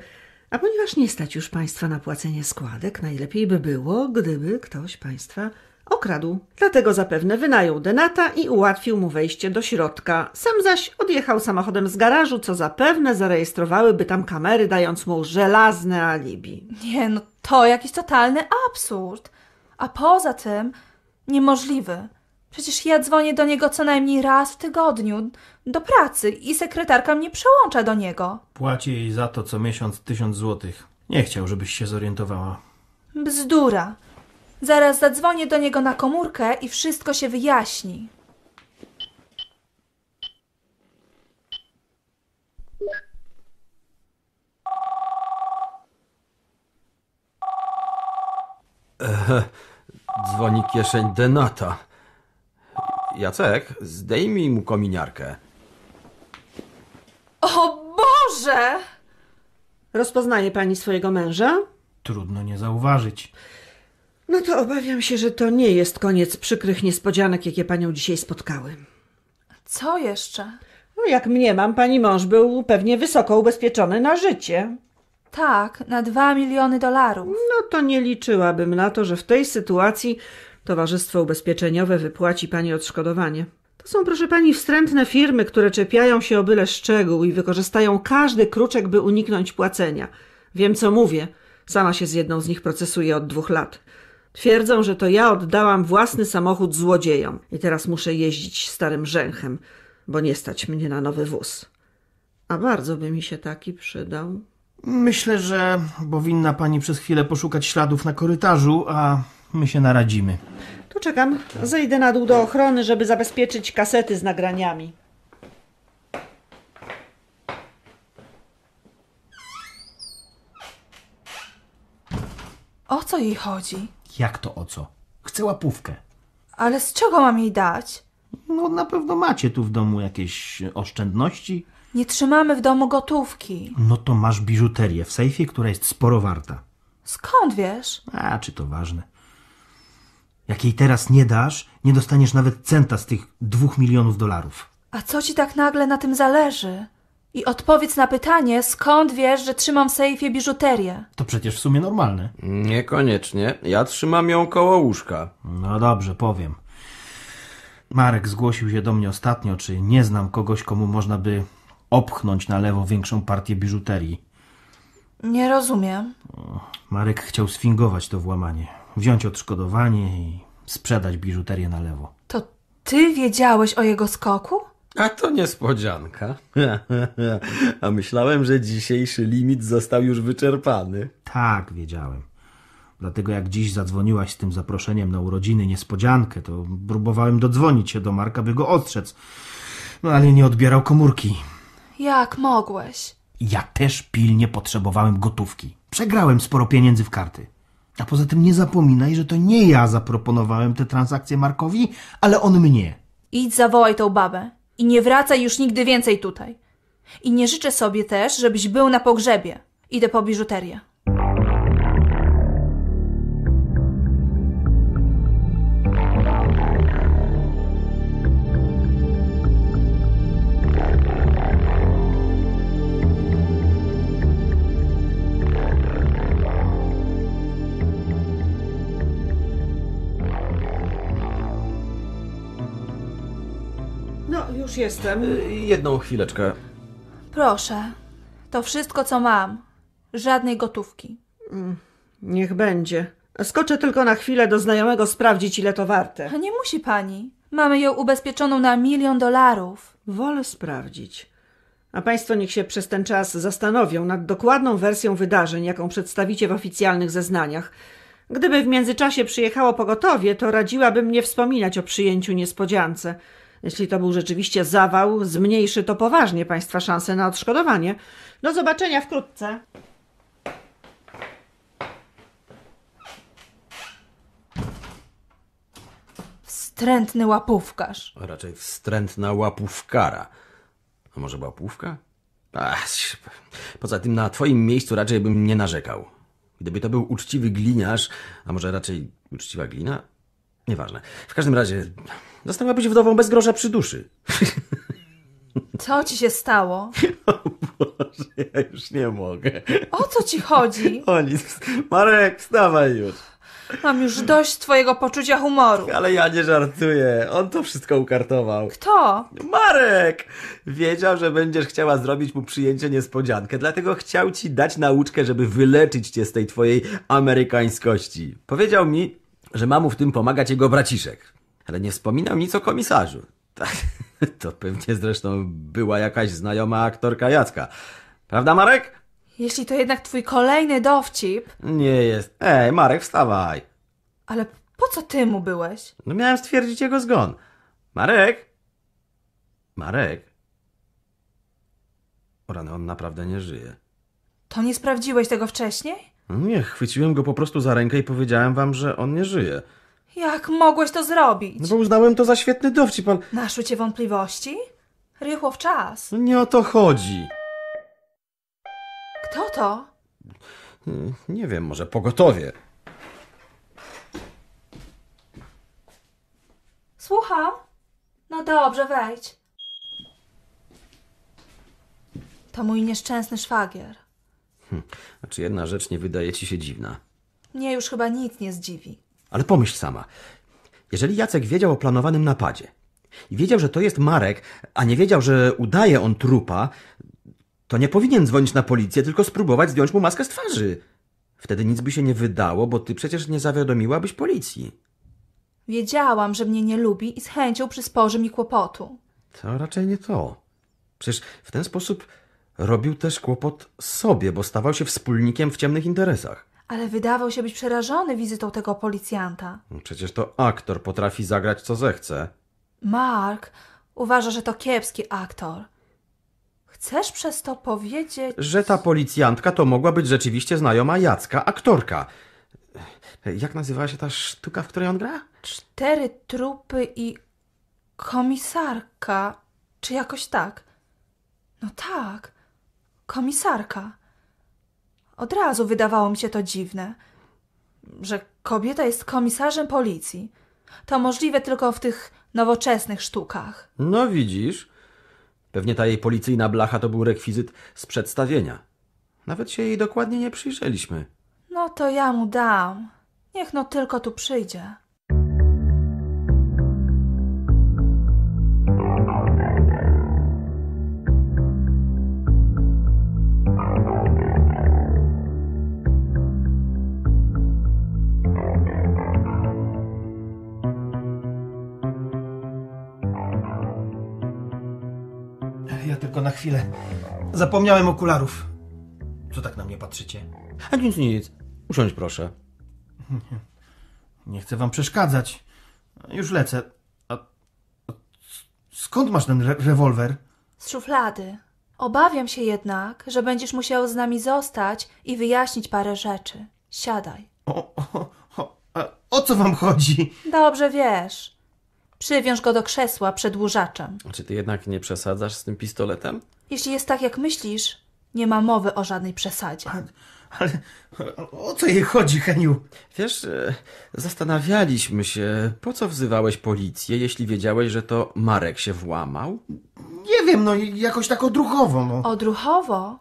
Speaker 4: A ponieważ nie stać już Państwa na płacenie składek, najlepiej by było, gdyby ktoś Państwa okradł. Dlatego zapewne wynajął denata i ułatwił mu wejście do środka. Sam zaś odjechał samochodem z garażu, co zapewne zarejestrowałyby tam kamery, dając mu żelazne alibi.
Speaker 3: Nie, no to jakiś totalny absurd. A poza tym niemożliwy. Przecież ja dzwonię do niego co najmniej raz w tygodniu do pracy i sekretarka mnie przełącza do niego.
Speaker 2: Płaci jej za to co miesiąc tysiąc złotych. Nie chciał, żebyś się zorientowała.
Speaker 3: Bzdura. Zaraz zadzwonię do niego na komórkę i wszystko się wyjaśni.
Speaker 1: Dzwoni kieszeń Denata. Jacek, zdejmij mu kominiarkę.
Speaker 3: O Boże!
Speaker 4: Rozpoznaje Pani swojego męża?
Speaker 2: Trudno nie zauważyć.
Speaker 4: No to obawiam się, że to nie jest koniec przykrych niespodzianek, jakie Panią dzisiaj spotkały.
Speaker 3: Co jeszcze?
Speaker 4: No, jak mniemam, pani mąż był pewnie wysoko ubezpieczony na życie.
Speaker 3: Tak, na dwa miliony dolarów.
Speaker 4: No to nie liczyłabym na to, że w tej sytuacji Towarzystwo Ubezpieczeniowe wypłaci pani odszkodowanie. To są, proszę pani, wstrętne firmy, które czepiają się o byle szczegół i wykorzystają każdy kruczek, by uniknąć płacenia. Wiem, co mówię. Sama się z jedną z nich procesuję od dwóch lat. Twierdzą, że to ja oddałam własny samochód złodziejom i teraz muszę jeździć starym rzęchem, bo nie stać mnie na nowy wóz. A bardzo by mi się taki przydał.
Speaker 2: Myślę, że powinna pani przez chwilę poszukać śladów na korytarzu, a my się naradzimy.
Speaker 4: Tu czekam. Zejdę na dół do ochrony, żeby zabezpieczyć kasety z nagraniami.
Speaker 3: O co jej chodzi?
Speaker 2: Jak to o co? Chcę łapówkę.
Speaker 3: Ale z czego mam jej dać?
Speaker 2: No na pewno macie tu w domu jakieś oszczędności.
Speaker 3: Nie trzymamy w domu gotówki.
Speaker 2: No to masz biżuterię w sejfie, która jest sporo warta.
Speaker 3: Skąd wiesz?
Speaker 2: A czy to ważne? Jak jej teraz nie dasz, nie dostaniesz nawet centa z tych dwóch milionów dolarów.
Speaker 3: A co ci tak nagle na tym zależy? I odpowiedz na pytanie, skąd wiesz, że trzymam w sejfie biżuterię?
Speaker 2: To przecież w sumie normalne.
Speaker 1: Niekoniecznie. Ja trzymam ją koło łóżka.
Speaker 2: No dobrze, powiem. Marek zgłosił się do mnie ostatnio, czy nie znam kogoś, komu można by opchnąć na lewo większą partię biżuterii.
Speaker 3: Nie rozumiem.
Speaker 2: Marek chciał sfingować to włamanie, wziąć odszkodowanie i sprzedać biżuterię na lewo.
Speaker 3: To ty wiedziałeś o jego skoku?
Speaker 1: A to niespodzianka. A myślałem, że dzisiejszy limit został już wyczerpany.
Speaker 2: Tak, wiedziałem. Dlatego jak dziś zadzwoniłaś z tym zaproszeniem na urodziny niespodziankę, to próbowałem dodzwonić się do Marka, by go ostrzec. No ale nie odbierał komórki.
Speaker 3: Jak mogłeś?
Speaker 2: Ja też pilnie potrzebowałem gotówki. Przegrałem sporo pieniędzy w karty. A poza tym nie zapominaj, że to nie ja zaproponowałem tę transakcję Markowi, ale on mnie.
Speaker 3: Idź zawołaj tą babę i nie wracaj już nigdy więcej tutaj. I nie życzę sobie też, żebyś był na pogrzebie. Idę po biżuterię.
Speaker 4: No, już jestem.
Speaker 1: Jedną chwileczkę.
Speaker 3: Proszę, to wszystko co mam. Żadnej gotówki.
Speaker 4: Niech będzie. Skoczę tylko na chwilę do znajomego sprawdzić, ile to warte.
Speaker 3: A nie musi pani. Mamy ją ubezpieczoną na milion dolarów.
Speaker 4: Wolę sprawdzić. A Państwo niech się przez ten czas zastanowią nad dokładną wersją wydarzeń, jaką przedstawicie w oficjalnych zeznaniach. Gdyby w międzyczasie przyjechało pogotowie, to radziłabym nie wspominać o przyjęciu niespodziance. Jeśli to był rzeczywiście zawał, zmniejszy to poważnie Państwa szanse na odszkodowanie. Do zobaczenia wkrótce.
Speaker 3: Wstrętny łapówkarz.
Speaker 1: A raczej wstrętna łapówkara. A może łapówka? Ach, ś- poza tym na twoim miejscu raczej bym nie narzekał. Gdyby to był uczciwy gliniarz, a może raczej uczciwa glina? Nieważne. W każdym razie zostałabyś wdową bez grosza przy duszy.
Speaker 3: Co ci się stało?
Speaker 1: Boże, ja już nie mogę.
Speaker 3: O co ci chodzi?
Speaker 1: O nic. Marek, wstawaj już.
Speaker 3: Mam już dość twojego poczucia humoru.
Speaker 1: Ale ja nie żartuję. On to wszystko ukartował.
Speaker 3: Kto?
Speaker 1: Marek! Wiedział, że będziesz chciała zrobić mu przyjęcie niespodziankę, dlatego chciał ci dać nauczkę, żeby wyleczyć cię z tej twojej amerykańskości. Powiedział mi, że ma mu w tym pomagać jego braciszek, ale nie wspominał nic o komisarzu. Tak, To pewnie zresztą była jakaś znajoma aktorka Jacka. Prawda, Marek?
Speaker 3: Jeśli to jednak twój kolejny dowcip,
Speaker 1: Nie jest. Ej, Marek, wstawaj.
Speaker 3: ale po co ty mu byłeś?
Speaker 1: No miałem stwierdzić jego zgon. Marek? Marek? O rany, on naprawdę nie żyje.
Speaker 3: To nie sprawdziłeś tego wcześniej?
Speaker 1: No Nie, chwyciłem go po prostu za rękę i powiedziałem wam, że on nie żyje.
Speaker 3: Jak mogłeś to zrobić?
Speaker 1: No bo uznałem to za świetny dowcip, ale
Speaker 3: Naszły cię wątpliwości? Rychło w czas.
Speaker 1: no nie o to chodzi.
Speaker 3: Kto to?
Speaker 1: Mm, Nie wiem, może pogotowie.
Speaker 3: Słucham? No dobrze, wejdź. To mój nieszczęsny szwagier.
Speaker 1: Znaczy jedna rzecz nie wydaje ci się dziwna.
Speaker 3: Mnie już chyba nic nie zdziwi.
Speaker 1: Ale pomyśl sama. Jeżeli Jacek wiedział o planowanym napadzie i wiedział, że to jest Marek, a nie wiedział, że udaje on trupa, to nie powinien dzwonić na policję, tylko spróbować zdjąć mu maskę z twarzy. Wtedy nic by się nie wydało, bo ty przecież nie zawiadomiłabyś policji.
Speaker 3: Wiedziałam, że mnie nie lubi i z chęcią przysporzy mi kłopotu.
Speaker 1: To raczej nie to. Przecież w ten sposób robił też kłopot sobie, bo stawał się wspólnikiem w ciemnych interesach.
Speaker 3: Ale wydawał się być przerażony wizytą tego policjanta.
Speaker 1: Przecież to aktor potrafi zagrać co zechce.
Speaker 3: Mark uważa, że to kiepski aktor. Chcesz przez to powiedzieć.
Speaker 1: że ta policjantka to mogła być rzeczywiście znajoma Jacka, aktorka. Jak nazywała się ta sztuka, w której on gra?
Speaker 3: Cztery trupy i komisarka, czy jakoś tak? No tak, komisarka. Od razu wydawało mi się to dziwne, że kobieta jest komisarzem policji. To możliwe tylko w tych nowoczesnych sztukach.
Speaker 1: No widzisz. Pewnie ta jej policyjna blacha to był rekwizyt z przedstawienia. Nawet się jej dokładnie nie przyjrzeliśmy.
Speaker 3: No to ja mu dam. Niech no tylko tu przyjdzie.
Speaker 2: Ja tylko na chwilę. Zapomniałem okularów. Co tak na mnie patrzycie?
Speaker 1: A nic, nic. Usiądź proszę.
Speaker 2: Nie chcę wam przeszkadzać. Już lecę. A, a skąd masz ten re rewolwer?
Speaker 3: Z szuflady. Obawiam się jednak, że będziesz musiał z nami zostać i wyjaśnić parę rzeczy. Siadaj.
Speaker 2: O, o, o, a, o co wam chodzi?
Speaker 3: Dobrze wiesz. Przywiąż go do krzesła przedłużaczem.
Speaker 1: Czy ty jednak nie przesadzasz z tym pistoletem?
Speaker 3: Jeśli jest tak, jak myślisz, nie ma mowy o żadnej przesadzie.
Speaker 2: Ale o co jej chodzi, Heniu?
Speaker 1: Wiesz, e, zastanawialiśmy się, po co wzywałeś policję, jeśli wiedziałeś, że to Marek się włamał?
Speaker 2: Nie wiem, no jakoś tak odruchowo, no.
Speaker 3: Odruchowo?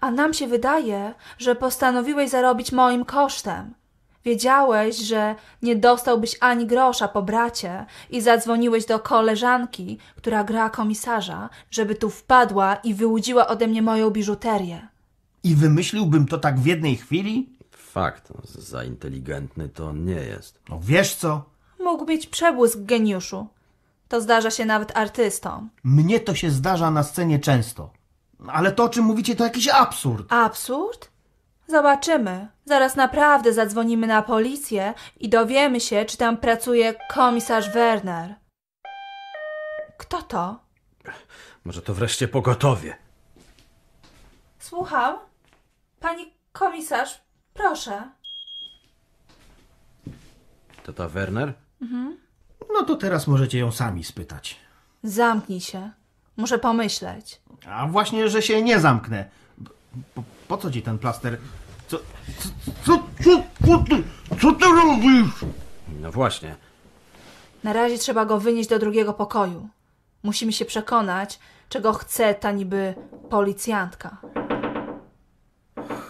Speaker 3: A nam się wydaje, że postanowiłeś zarobić moim kosztem. Wiedziałeś, że nie dostałbyś ani grosza po bracie i zadzwoniłeś do koleżanki, która gra komisarza, żeby tu wpadła i wyłudziła ode mnie moją biżuterię.
Speaker 2: I wymyśliłbym to tak w jednej chwili?
Speaker 1: Fakt, no, za inteligentny to on nie jest.
Speaker 2: No wiesz co?
Speaker 3: Mógł mieć przebłysk geniuszu. To zdarza się nawet artystom.
Speaker 2: Mnie to się zdarza na scenie często. Ale to, o czym mówicie, to jakiś absurd.
Speaker 3: Absurd? Zobaczymy. Zaraz naprawdę zadzwonimy na policję i dowiemy się, czy tam pracuje komisarz Werner. Kto to?
Speaker 1: Może to wreszcie pogotowie.
Speaker 3: Słucham? Pani komisarz, proszę.
Speaker 1: To ta Werner?
Speaker 2: No No to teraz możecie ją sami spytać.
Speaker 3: Zamknij się. Muszę pomyśleć.
Speaker 2: A właśnie, że się nie zamknę. Po, po co ci ten plaster? Co, co, co, co, co, ty, co ty robisz?
Speaker 1: No właśnie.
Speaker 3: Na razie trzeba go wynieść do drugiego pokoju. Musimy się przekonać, czego chce ta niby policjantka.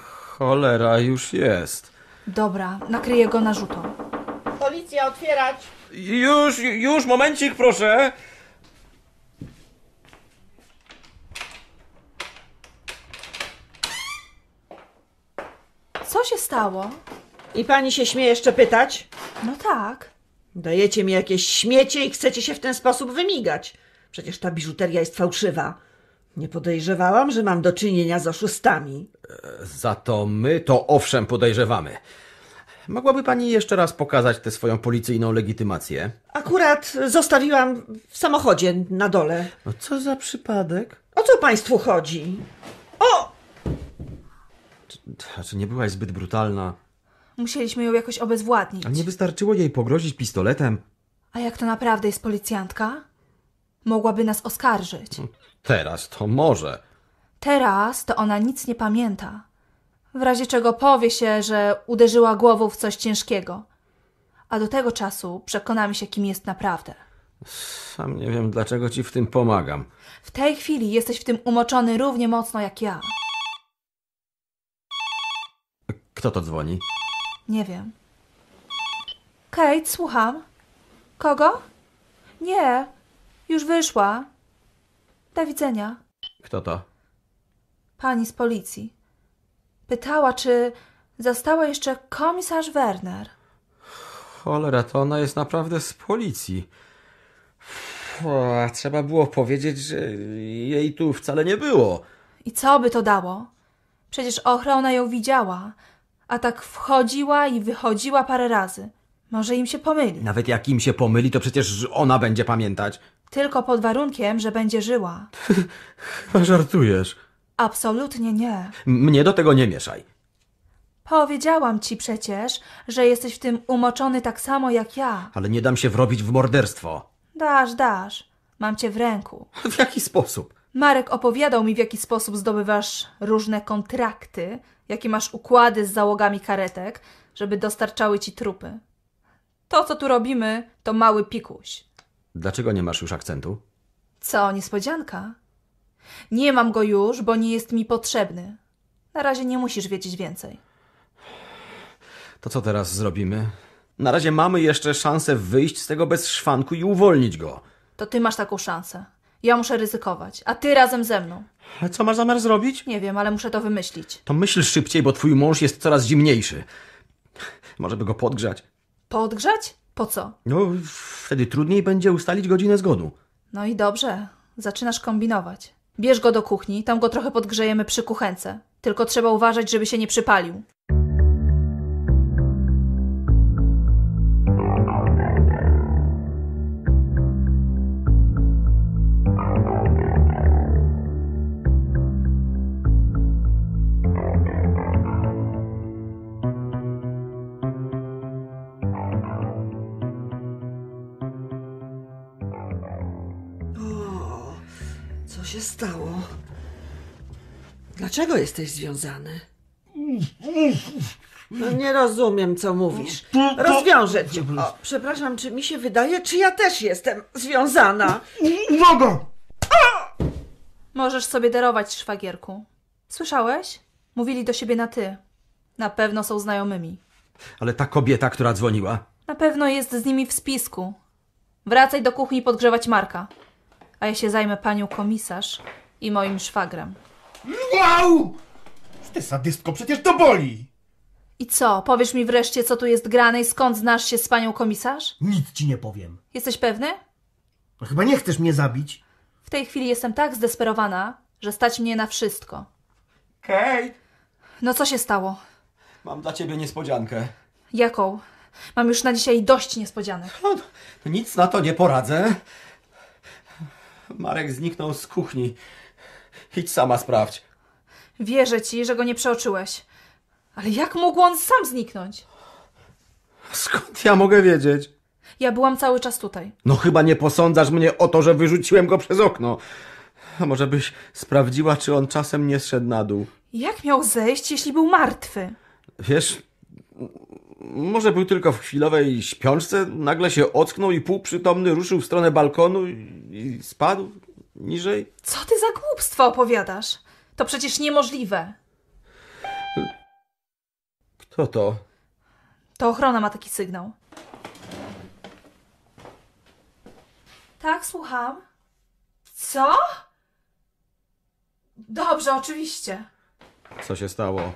Speaker 1: Cholera już jest.
Speaker 3: Dobra, nakryję go narzutą.
Speaker 4: Policja, otwierać!
Speaker 5: Już, już, momencik, proszę.
Speaker 3: Co się stało?
Speaker 4: I pani się śmie jeszcze pytać?
Speaker 3: No tak.
Speaker 4: Dajecie mi jakieś śmiecie i chcecie się w ten sposób wymigać. Przecież ta biżuteria jest fałszywa. Nie podejrzewałam, że mam do czynienia z oszustami.
Speaker 1: Za to my to owszem podejrzewamy. Mogłaby pani jeszcze raz pokazać tę swoją policyjną legitymację?
Speaker 4: Akurat zostawiłam w samochodzie na dole.
Speaker 1: No co za przypadek?
Speaker 4: O co państwu chodzi? O!
Speaker 1: Czy Znaczy, nie byłaś zbyt brutalna?
Speaker 3: Musieliśmy ją jakoś obezwładnić.
Speaker 1: A nie wystarczyło jej pogrozić pistoletem?
Speaker 3: A jak to naprawdę jest policjantka? Mogłaby nas oskarżyć.
Speaker 1: Teraz to może.
Speaker 3: Teraz to ona nic nie pamięta. W razie czego powie się, że uderzyła głową w coś ciężkiego. A do tego czasu przekonamy się, kim jest naprawdę.
Speaker 1: Sam nie wiem, dlaczego ci w tym pomagam.
Speaker 3: W tej chwili jesteś w tym umoczony równie mocno jak ja.
Speaker 1: Kto to dzwoni?
Speaker 3: Nie wiem. Kate, słucham. Kogo? Nie, już wyszła. Do widzenia.
Speaker 1: Kto to?
Speaker 3: Pani z policji. Pytała, czy zastała jeszcze komisarz Werner.
Speaker 1: Cholera, to ona jest naprawdę z policji. O, a trzeba było powiedzieć, że jej tu wcale nie było.
Speaker 3: I co by to dało? Przecież ochrona ją widziała, a tak wchodziła i wychodziła parę razy. Może im się pomyli.
Speaker 1: Nawet jak im się pomyli, to przecież ona będzie pamiętać.
Speaker 3: Tylko pod warunkiem, że będzie żyła.
Speaker 1: Chyba żartujesz.
Speaker 3: Absolutnie nie.
Speaker 1: Mnie do tego nie mieszaj.
Speaker 3: Powiedziałam ci przecież, że jesteś w tym umoczony tak samo jak ja.
Speaker 1: Ale nie dam się wrobić w morderstwo.
Speaker 3: Dasz, dasz. Mam cię w ręku.
Speaker 1: W jaki sposób?
Speaker 3: Marek opowiadał mi, w jaki sposób zdobywasz różne kontrakty, jakie masz układy z załogami karetek, żeby dostarczały ci trupy. To, co tu robimy, to mały pikuś.
Speaker 1: Dlaczego nie masz już akcentu?
Speaker 3: Co, niespodzianka? Nie mam go już, bo nie jest mi potrzebny. Na razie nie musisz wiedzieć więcej.
Speaker 1: To co teraz zrobimy? Na razie mamy jeszcze szansę wyjść z tego bez szwanku i uwolnić go.
Speaker 3: To ty masz taką szansę. Ja muszę ryzykować, a ty razem ze mną.
Speaker 1: Ale co masz zamiar zrobić?
Speaker 3: Nie wiem, ale muszę to wymyślić.
Speaker 1: To myśl szybciej, bo twój mąż jest coraz zimniejszy. Może by go podgrzać.
Speaker 3: Podgrzać? Po co?
Speaker 1: No, wtedy trudniej będzie ustalić godzinę zgonu.
Speaker 3: No i dobrze, zaczynasz kombinować. Bierz go do kuchni, tam go trochę podgrzejemy przy kuchence. Tylko trzeba uważać, żeby się nie przypalił.
Speaker 4: Co się stało? Dlaczego jesteś związany? No nie rozumiem, co mówisz. Rozwiążę cię. O, przepraszam, czy mi się wydaje, czy ja też jestem związana?
Speaker 2: Uwaga!
Speaker 3: Możesz sobie darować, szwagierku. Słyszałeś? Mówili do siebie na ty. Na pewno są znajomymi.
Speaker 1: Ale ta kobieta, która dzwoniła,
Speaker 3: Na pewno jest z nimi w spisku. Wracaj do kuchni podgrzewać Marka. A ja się zajmę panią komisarz i moim szwagrem.
Speaker 2: Wow! Ty sadystko, przecież to boli!
Speaker 3: I co, powiesz mi wreszcie, co tu jest grane i skąd znasz się z panią komisarz?
Speaker 2: Nic ci nie powiem.
Speaker 3: Jesteś pewny?
Speaker 2: No Chyba nie chcesz mnie zabić.
Speaker 3: W tej chwili jestem tak zdesperowana, że stać mnie na wszystko.
Speaker 5: Kate,
Speaker 3: No co się stało?
Speaker 1: mam dla ciebie niespodziankę.
Speaker 3: Jaką? Mam już na dzisiaj dość niespodzianek.
Speaker 1: No, to nic na to nie poradzę. Marek zniknął z kuchni. Idź sama sprawdź.
Speaker 3: Wierzę ci, że go nie przeoczyłeś. Ale jak mógł on sam zniknąć?
Speaker 1: Skąd ja mogę wiedzieć?
Speaker 3: Ja byłam cały czas tutaj.
Speaker 1: No chyba nie posądzasz mnie o to, że wyrzuciłem go przez okno. A może byś sprawdziła, czy on czasem nie zszedł na dół?
Speaker 3: Jak miał zejść, jeśli był martwy?
Speaker 1: Wiesz, m- może był tylko w chwilowej śpiączce, nagle się ocknął i półprzytomny ruszył w stronę balkonu i i spadł niżej.
Speaker 3: Co ty za głupstwa opowiadasz? To przecież niemożliwe.
Speaker 1: Kto to?
Speaker 3: To ochrona ma taki sygnał. Tak, słucham. Co? Dobrze, oczywiście.
Speaker 1: Co się stało?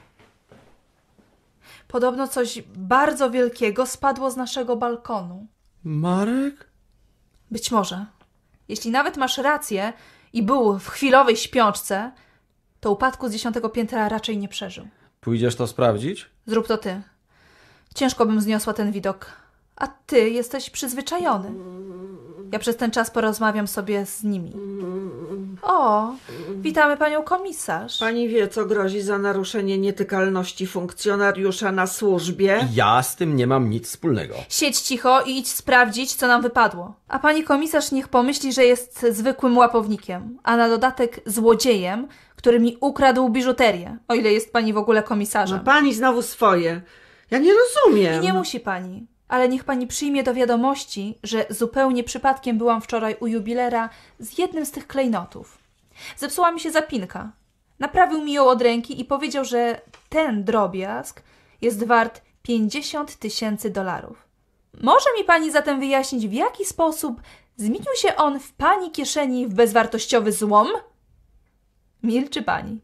Speaker 3: Podobno coś bardzo wielkiego spadło z naszego balkonu.
Speaker 1: Marek?
Speaker 3: Być może. Jeśli nawet masz rację i był w chwilowej śpiączce, to upadku z dziesiątego piętra raczej nie przeżył.
Speaker 1: Pójdziesz to sprawdzić?
Speaker 3: Zrób to ty. Ciężko bym zniosła ten widok. A ty jesteś przyzwyczajony. Ja przez ten czas porozmawiam sobie z nimi. O, witamy panią komisarz.
Speaker 4: Pani wie, co grozi za naruszenie nietykalności funkcjonariusza na służbie?
Speaker 1: Ja z tym nie mam nic wspólnego.
Speaker 3: Siedź cicho i idź sprawdzić, co nam wypadło. A pani komisarz niech pomyśli, że jest zwykłym łapownikiem, a na dodatek złodziejem, który mi ukradł biżuterię, o ile jest pani w ogóle
Speaker 4: Że
Speaker 3: komisarzem.
Speaker 4: pani znowu swoje. Ja nie rozumiem.
Speaker 3: I nie musi pani. Ale niech pani przyjmie do wiadomości, że zupełnie przypadkiem byłam wczoraj u jubilera z jednym z tych klejnotów. Zepsuła mi się zapinka. Naprawił mi ją od ręki i powiedział, że ten drobiazg jest wart 50 tysięcy dolarów. Może mi pani zatem wyjaśnić, w jaki sposób zmienił się on w pani kieszeni w bezwartościowy złom? Milczy pani.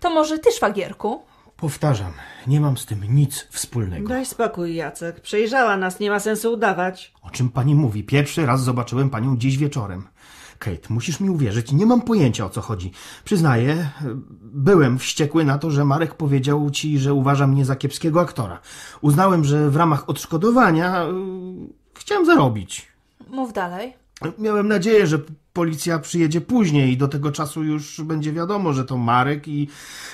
Speaker 3: To może ty, szwagierku?
Speaker 2: Powtarzam, nie mam z tym nic wspólnego.
Speaker 4: Daj spokój, Jacek. Przejrzała nas, nie ma sensu udawać.
Speaker 2: O czym pani mówi? Pierwszy raz zobaczyłem panią dziś wieczorem. Kate, musisz mi uwierzyć, nie mam pojęcia o co chodzi. Przyznaję, e, byłem wściekły na to, że Marek powiedział ci, że uważa mnie za kiepskiego aktora. Uznałem, że w ramach odszkodowania e, chciałem zarobić.
Speaker 3: Mów dalej.
Speaker 2: Miałem nadzieję, że policja przyjedzie później i do tego czasu już będzie wiadomo, że to Marek i,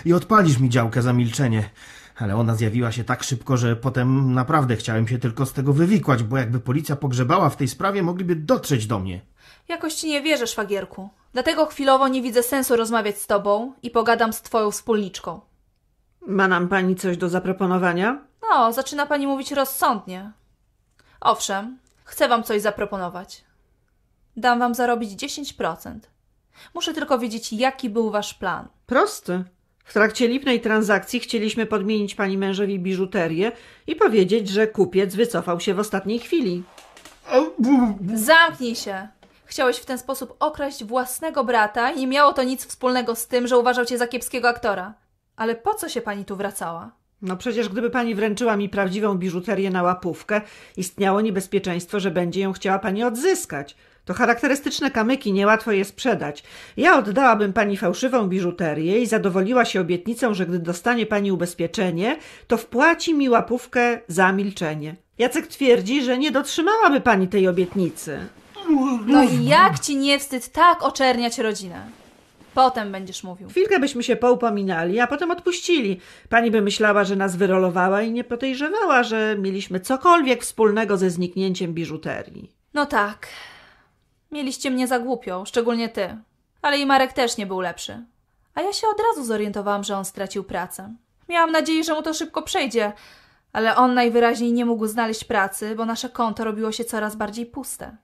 Speaker 2: i odpalisz mi działkę za milczenie. Ale ona zjawiła się tak szybko, że potem naprawdę chciałem się tylko z tego wywikłać, bo jakby policja pogrzebała w tej sprawie, mogliby dotrzeć do mnie.
Speaker 3: Jakoś ci nie wierzę, szwagierku. Dlatego chwilowo nie widzę sensu rozmawiać z tobą i pogadam z twoją wspólniczką.
Speaker 4: Ma nam pani coś do zaproponowania?
Speaker 3: No, zaczyna pani mówić rozsądnie. Owszem, chcę wam coś zaproponować. Dam wam zarobić 10%. Muszę tylko wiedzieć, jaki był wasz plan.
Speaker 4: Prosty. W trakcie lipnej transakcji chcieliśmy podmienić pani mężowi biżuterię i powiedzieć, że kupiec wycofał się w ostatniej chwili.
Speaker 3: Zamknij się! Chciałeś w ten sposób okraść własnego brata i nie miało to nic wspólnego z tym, że uważał cię za kiepskiego aktora. Ale po co się pani tu wracała?
Speaker 4: No przecież gdyby pani wręczyła mi prawdziwą biżuterię na łapówkę, istniało niebezpieczeństwo, że będzie ją chciała pani odzyskać. To charakterystyczne kamyki, niełatwo je sprzedać. Ja oddałabym pani fałszywą biżuterię i zadowoliła się obietnicą, że gdy dostanie pani ubezpieczenie, to wpłaci mi łapówkę za milczenie. Jacek twierdzi, że nie dotrzymałaby pani tej obietnicy.
Speaker 3: No i jak ci nie wstyd tak oczerniać rodzinę? Potem będziesz mówił.
Speaker 4: Chwilkę byśmy się poupominali, a potem odpuścili. Pani by myślała, że nas wyrolowała i nie podejrzewała, że mieliśmy cokolwiek wspólnego ze zniknięciem biżuterii.
Speaker 3: No tak. Mieliście mnie za głupią, szczególnie ty. Ale i Marek też nie był lepszy. A ja się od razu zorientowałam, że on stracił pracę. Miałam nadzieję, że mu to szybko przejdzie, ale on najwyraźniej nie mógł znaleźć pracy, bo nasze konto robiło się coraz bardziej puste.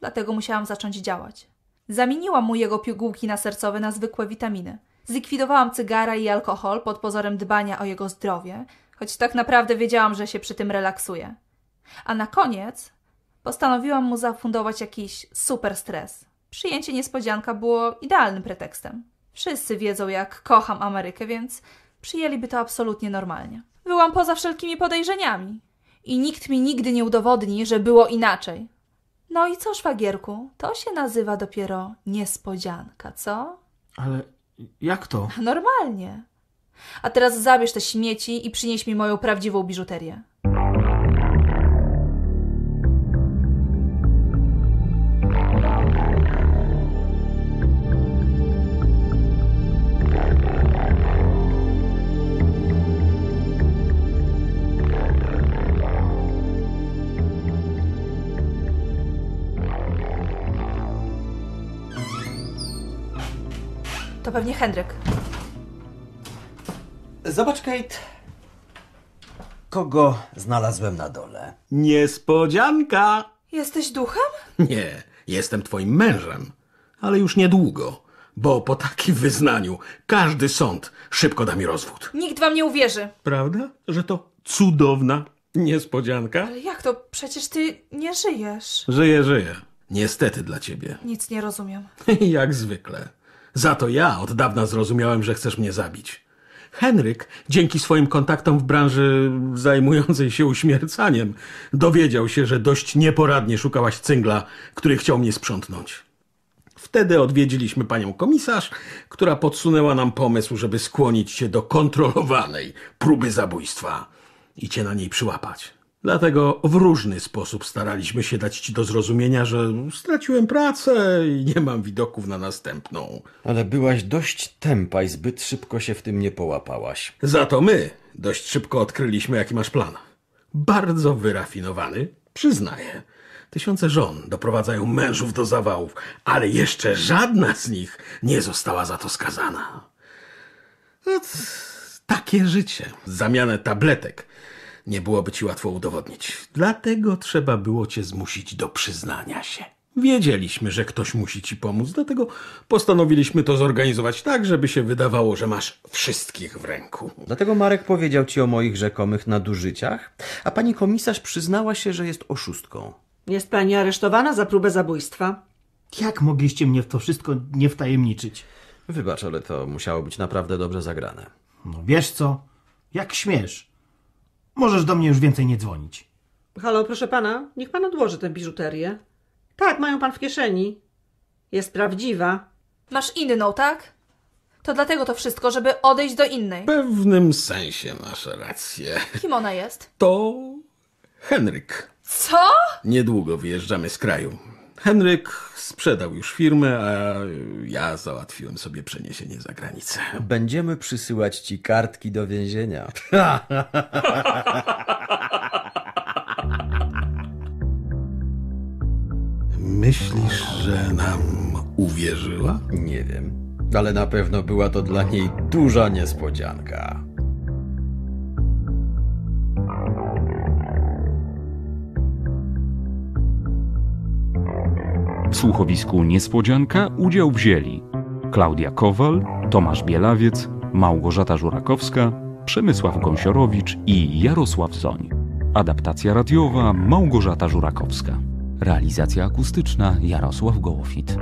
Speaker 3: Dlatego musiałam zacząć działać. Zamieniłam mu jego pigułki na sercowe na zwykłe witaminy. Zlikwidowałam cygara i alkohol pod pozorem dbania o jego zdrowie, choć tak naprawdę wiedziałam, że się przy tym relaksuje. A na koniec Postanowiłam mu zafundować jakiś super stres. Przyjęcie niespodzianka było idealnym pretekstem. Wszyscy wiedzą, jak kocham Amerykę, więc przyjęliby to absolutnie normalnie. Byłam poza wszelkimi podejrzeniami i nikt mi nigdy nie udowodni, że było inaczej. No i co, szwagierku? To się nazywa dopiero niespodzianka, co?
Speaker 2: Ale jak to?
Speaker 3: Normalnie. A teraz zabierz te śmieci i przynieś mi moją prawdziwą biżuterię. To pewnie Henryk.
Speaker 1: Zobacz, Kate. Kogo znalazłem na dole?
Speaker 6: Niespodzianka!
Speaker 3: Jesteś duchem?
Speaker 6: Nie, jestem twoim mężem. Ale już niedługo, bo po takim wyznaniu każdy sąd szybko da mi rozwód.
Speaker 3: Nikt wam nie uwierzy.
Speaker 6: Prawda, że to cudowna niespodzianka?
Speaker 3: Ale jak to? Przecież ty nie żyjesz.
Speaker 6: Żyję, żyję. Niestety dla ciebie.
Speaker 3: Nic nie rozumiem.
Speaker 6: Jak zwykle. Za to ja od dawna zrozumiałem, że chcesz mnie zabić. Henryk, dzięki swoim kontaktom w branży zajmującej się uśmiercaniem, dowiedział się, że dość nieporadnie szukałaś cyngla, który chciał mnie sprzątnąć. Wtedy odwiedziliśmy panią komisarz, która podsunęła nam pomysł, żeby skłonić cię do kontrolowanej próby zabójstwa i cię na niej przyłapać. Dlatego w różny sposób staraliśmy się dać ci do zrozumienia, że straciłem pracę i nie mam widoków na następną.
Speaker 1: Ale byłaś dość tępa i zbyt szybko się w tym nie połapałaś.
Speaker 6: Za to my dość szybko odkryliśmy, jaki masz plan. Bardzo wyrafinowany, przyznaję. Tysiące żon doprowadzają mężów do zawałów, ale jeszcze żadna z nich nie została za to skazana. No, c- takie życie. Zamianę tabletek nie byłoby ci łatwo udowodnić. Dlatego trzeba było cię zmusić do przyznania się. Wiedzieliśmy, że ktoś musi ci pomóc, dlatego postanowiliśmy to zorganizować tak, żeby się wydawało, że masz wszystkich w ręku.
Speaker 1: Dlatego Marek powiedział ci o moich rzekomych nadużyciach, a pani komisarz przyznała się, że jest oszustką.
Speaker 4: Jest pani aresztowana za próbę zabójstwa.
Speaker 2: Jak mogliście mnie w to wszystko nie wtajemniczyć?
Speaker 1: Wybacz, ale to musiało być naprawdę dobrze zagrane.
Speaker 2: No wiesz co? Jak śmiesz? Możesz do mnie już więcej nie dzwonić.
Speaker 4: Halo, proszę pana, niech pan odłoży tę biżuterię. Tak, mają pan w kieszeni. Jest prawdziwa.
Speaker 3: Masz inną, tak? To dlatego to wszystko, żeby odejść do innej.
Speaker 6: W pewnym sensie masz rację.
Speaker 3: Kim ona jest?
Speaker 6: To Henryk.
Speaker 3: Co?
Speaker 6: Niedługo wyjeżdżamy z kraju. Henryk sprzedał już firmę, a ja załatwiłem sobie przeniesienie za granicę.
Speaker 1: Będziemy przysyłać ci kartki do więzienia.
Speaker 6: Myślisz, że nam uwierzyła?
Speaker 1: Nie wiem, ale na pewno była to dla niej duża niespodzianka.
Speaker 7: W słuchowisku Niespodzianka udział wzięli Klaudia Kowal, Tomasz Bielawiec, Małgorzata Żurakowska, Przemysław Gąsiorowicz i Jarosław Zoń. Adaptacja radiowa Małgorzata Żurakowska. Realizacja akustyczna Jarosław Gołofit.